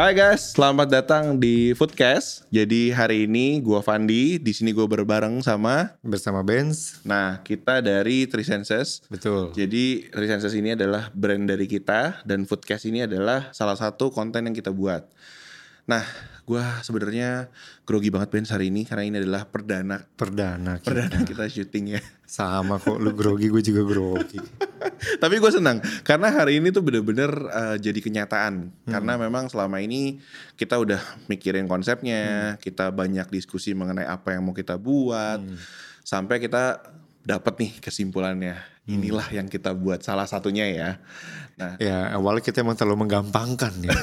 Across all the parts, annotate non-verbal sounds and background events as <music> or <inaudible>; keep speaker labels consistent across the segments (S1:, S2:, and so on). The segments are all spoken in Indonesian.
S1: Hai guys, selamat datang di Foodcast. Jadi hari ini gua Fandi, di sini gua berbareng sama
S2: bersama Benz
S1: nah kita dari Three Senses.
S2: betul
S1: Jadi Three Senses ini adalah brand dari kita dan Foodcast ini adalah salah satu konten yang kita buat. Nah, gua sebenarnya grogi banget Benz hari ini karena ini adalah perdana
S2: perdana kita.
S1: perdana kita syuting ya.
S2: sama kok lu grogi gue juga
S1: <laughs>
S2: grogi
S1: Tapi gue senang karena hari ini tuh bener-bener uh, jadi kenyataan karena memang selama ini kita udah mikirin konsepnya, kita banyak diskusi mengenai apa yang mau kita buat sampai kita dapat nih kesimpulannya inilah yang kita buat salah satunya ya. Nah
S2: ya awalnya kita emang terlalu menggampangkan ya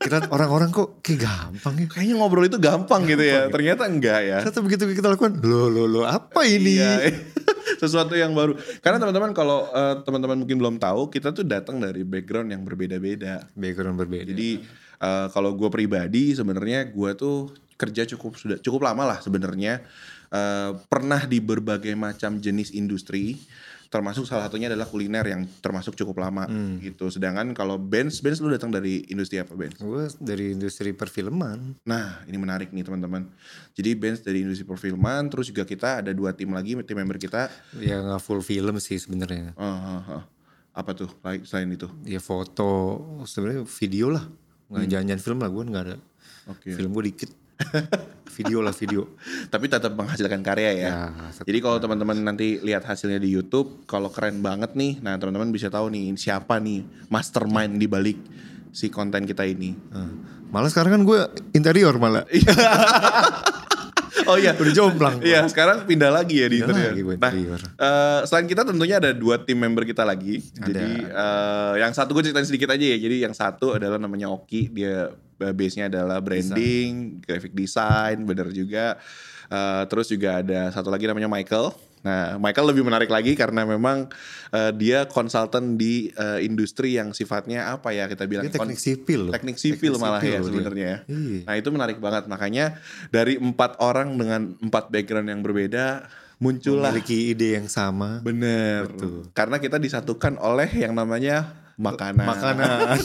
S2: kita orang-orang kok kayak gampang ya
S1: <laughs> kayaknya ngobrol itu gampang gitu ya, ternyata enggak ya.
S2: Ternyata begitu kita lakukan lo lo lo apa ini
S1: Iya. <laughs> sesuatu yang baru. Karena teman-teman kalau uh, teman-teman mungkin belum tahu kita tuh datang dari background yang berbeda-beda.
S2: background berbeda
S1: Jadi eh, kalau gue pribadi sebenarnya gue tuh kerja cukup sudah cukup lama lah sebenarnya Eh, pernah di berbagai macam jenis industri termasuk salah satunya adalah kuliner yang termasuk cukup lama gitu. Sedangkan kalau Benz, Benz lu datang dari industri apa Benz?
S2: gue dari industri perfilman
S1: Nah ini menarik nih teman-teman. Jadi Benz dari industri perfilman, terus juga kita ada dua tim lagi tim member kita.
S2: ya nggak full film sih
S1: Eh,
S2: sebenarnya
S1: eh, eh. Apa tuh lain- selain itu?
S2: ya foto sebenarnya video lah
S1: Hmm.
S2: nggak jangan-jangan film lah gue nggak ada
S1: Oke.
S2: film gue
S1: <laughs>
S2: dikit video lah video
S1: Tapi tetap menghasilkan karya ya.
S2: ya set-
S1: Jadi kalau teman-teman nanti lihat hasilnya di YouTube, kalau keren banget nih, nah teman-teman bisa tahu nih siapa nih mastermind di balik si konten kita ini.
S2: eh. malah sekarang kan gue interior malah
S1: Oh iya,
S2: udah jomplang gua.
S1: iya sekarang pindah lagi ya di
S2: Pindah
S1: interior.
S2: lagi gua
S1: Nah,
S2: interior.
S1: eh, selain kita tentunya ada dua tim member kita lagi. Jadi eh, yang satu gue ceritain sedikit aja ya. Jadi yang satu adalah namanya Oki, dia eh, base-nya adalah branding, graphic design, bener juga. Eh, terus juga ada satu lagi namanya Michael. Nah, Michael lebih menarik lagi karena memang eh, dia konsultan di eh, industri yang sifatnya apa ya kita bilang
S2: Dia
S1: kon-
S2: teknik sipil loh.
S1: teknik sipil malah
S2: sipil
S1: ya
S2: loh dia.
S1: sebenarnya ya.
S2: Iya.
S1: Nah itu menarik banget makanya dari empat orang dengan empat background yang berbeda muncullah
S2: Memiliki ide yang sama.
S1: bener karena kita disatukan oleh yang namanya makanan. <laughs>
S2: Makanan.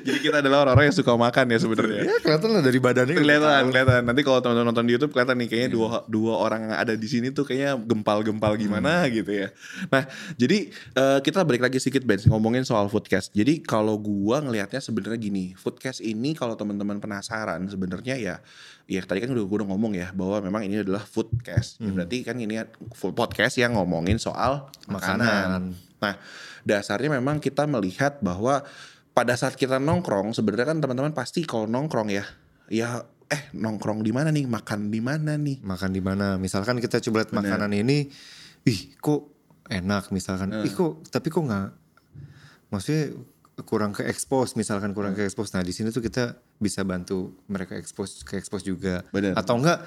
S1: Jadi kita adalah orang-orang yang suka makan ya sebenarnya.
S2: ya kelihatan lah dari badannya.
S1: Kelihatan, kelihatan. Nanti kalau teman-teman nonton di YouTube kelihatan nih kayaknya dua dua orang yang ada di sini tuh kayaknya gempal-gempal gimana gitu ya. Nah, jadi eh, kita balik lagi sedikit Ben ngomongin soal foodcast. Jadi kalau gua ngelihatnya sebenarnya gini, foodcast ini kalau teman-teman penasaran sebenarnya ya ya tadi kan udah gua udah ngomong ya bahwa memang ini adalah foodcast. Ya, Berarti kan ini full podcast yang ngomongin soal makanan.
S2: Makanan.
S1: Nah, dasarnya memang kita melihat bahwa pada saat kita nongkrong sebenarnya kan teman-teman pasti kalau nongkrong ya, ya eh nongkrong di mana nih, makan di mana nih.
S2: Makan di mana? Misalkan kita coba lihat makanan ini, ih kok enak misalkan. Ih kok tapi kok nggak maksudnya kurang ke expose misalkan kurang ke expose. Nah, di sini tuh kita bisa bantu mereka expose ke expose juga.
S1: Bener.
S2: Atau enggak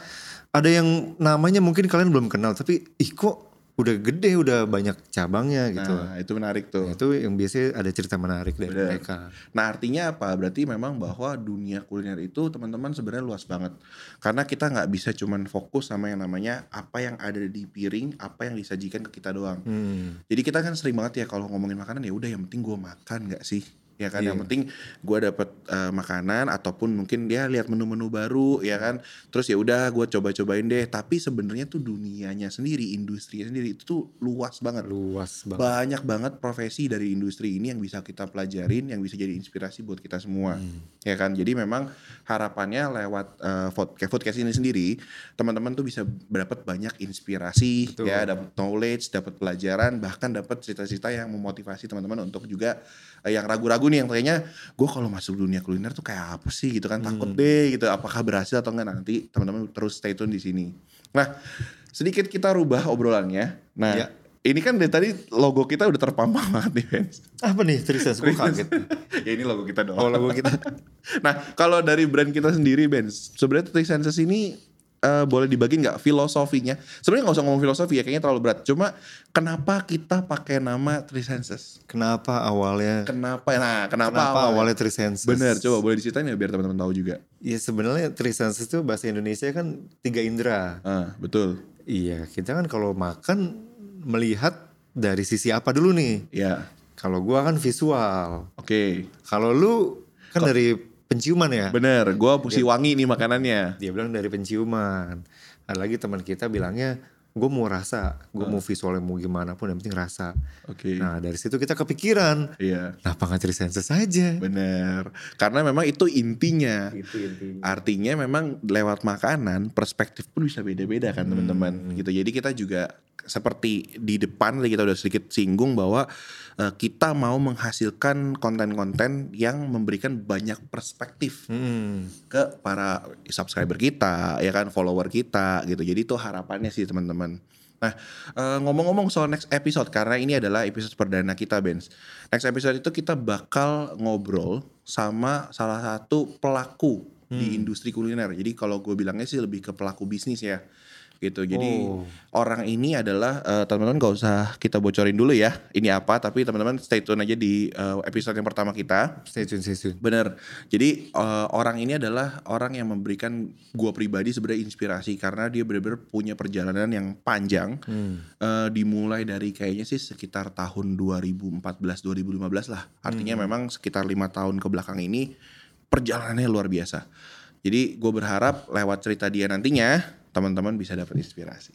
S2: ada yang namanya mungkin kalian belum kenal tapi ih kok udah gede udah banyak cabangnya gitu.
S1: Nah, itu menarik tuh.
S2: Nah, itu yang biasanya ada cerita menarik dari
S1: Bener.
S2: mereka.
S1: Nah artinya apa? Berarti memang bahwa dunia kuliner itu teman-teman sebenarnya luas banget. Karena kita nggak bisa cuman fokus sama yang namanya apa yang ada di piring, apa yang disajikan ke kita doang.
S2: Hmm.
S1: Jadi kita kan sering banget ya kalau ngomongin makanan ya udah yang penting gue makan nggak sih? Ya kan yang
S2: Iya.
S1: penting gue dapet eh, makanan ataupun mungkin dia lihat menu-menu baru ya kan. Terus ya udah gue coba-cobain deh. Tapi sebenarnya tuh dunianya sendiri, industrinya sendiri itu tuh luas banget
S2: Luas banget.
S1: banyak banget profesi dari industri ini yang bisa kita pelajarin yang bisa jadi inspirasi buat kita semua ya kan jadi memang harapannya lewat eh, podcast podcast ini sendiri teman-teman tuh bisa dapat banyak inspirasi
S2: Betul.
S1: ya dapat knowledge dapat pelajaran bahkan dapat cerita-cerita yang memotivasi teman-teman untuk juga eh, yang ragu-ragu nih yang kayaknya gue kalau masuk dunia kuliner tuh kayak apa sih gitu kan takut deh gitu apakah berhasil atau enggak nanti teman-teman terus stay tune di sini nah sedikit kita rubah obrolannya nah
S2: Ya.
S1: ini kan dari tadi logo kita udah terpampang <laughs> banget nih fans.
S2: Apa nih Tristan? Gue kaget.
S1: <laughs> ya ini logo kita dong.
S2: Oh lagu kita.
S1: <laughs> Nah kalau dari brand kita sendiri Benz, sebenarnya Three Senses ini eh, boleh dibagiin nggak filosofinya? Sebenarnya nggak usah ngomong filosofi ya, kayaknya terlalu berat. Cuma kenapa kita pakai nama Three Senses?
S2: Kenapa awalnya?
S1: Kenapa? Nah kenapa,
S2: Kenapa
S1: awalnya?
S2: awalnya Trisenses?
S1: Bener, coba boleh diceritain ya biar teman-teman tahu juga.
S2: Ya sebenarnya Trisenses itu bahasa Indonesia kan tiga indera.
S1: Ah, betul.
S2: Iya, kita kan kalau makan melihat dari sisi apa dulu nih?
S1: Ya,
S2: Kalau gua kan visual.
S1: oke.
S2: Kalau lu kan dari penciuman ya.
S1: Bener, gue mesti wangi nih makanannya.
S2: Dia bilang dari penciuman. Ada lagi teman kita bilangnya gue mau rasa, gue mau visualnya mau gimana pun yang penting rasa.
S1: Oke.
S2: Nah dari situ kita kepikiran,
S1: Iya,
S2: kenapa nggak trisensus saja?
S1: bener. Karena memang itu intinya.
S2: Itu intinya.
S1: Artinya memang lewat makanan perspektif pun bisa beda-beda kan teman-teman gitu. Jadi kita juga seperti di depan tadi kita udah sedikit singgung bahwa eh, kita mau menghasilkan konten-konten yang memberikan banyak perspektif
S2: Hmm.
S1: ke para subscriber kita ya kan follower kita gitu jadi itu harapannya sih teman-teman nah eh, ngomong-ngomong soal next episode karena ini adalah episode perdana kita Benz next episode itu kita bakal ngobrol sama salah satu pelaku di industri kuliner jadi kalau gue bilangnya sih lebih ke pelaku bisnis ya gitu jadi
S2: Oh.
S1: orang ini adalah eh, teman-teman gak usah kita bocorin dulu ya ini apa tapi teman-teman stay tune aja di eh, episode yang pertama kita
S2: Stay tune, stay tune.
S1: Bener. Jadi eh, orang ini adalah orang yang memberikan gua pribadi sebenarnya inspirasi karena dia benar-benar punya perjalanan yang panjang.
S2: Hmm.
S1: Eh, dimulai dari kayaknya sih sekitar tahun 2014-2015 lah. Artinya memang sekitar lima tahun ke belakang ini perjalanannya luar biasa. Jadi gue berharap lewat cerita dia nantinya teman-teman bisa dapat inspirasi.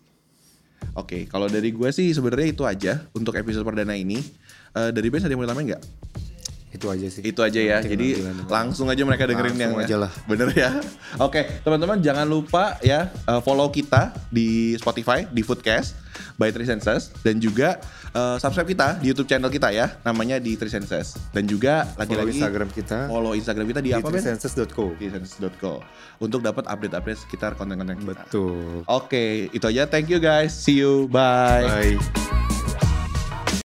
S1: Oke, kalau dari gue sih sebenarnya itu aja untuk episode perdana ini. Eh, dari Ben ada yang mau ditambahin nggak?
S2: Itu aja sih.
S1: itu aja ya.
S2: Nanti,
S1: Jadi
S2: nanti, nanti.
S1: langsung aja mereka dengerin
S2: Langsung
S1: yang
S2: aja lah.
S1: bener ya. Oke, teman-teman jangan lupa ya eh, follow kita di Spotify di Foodcast by Three Senses dan juga eh, subscribe kita di YouTube channel kita ya, namanya di Three Senses. Dan juga
S2: Follow
S1: lagi-lagi
S2: Instagram kita
S1: follow Instagram kita di,
S2: di
S1: apa Ben?
S2: trisensus.co.
S1: Trisenses.co untuk dapat update-update sekitar konten-konten kita.
S2: Betul.
S1: Oke, itu aja. Thank you guys. See you. Bye.
S2: Bye.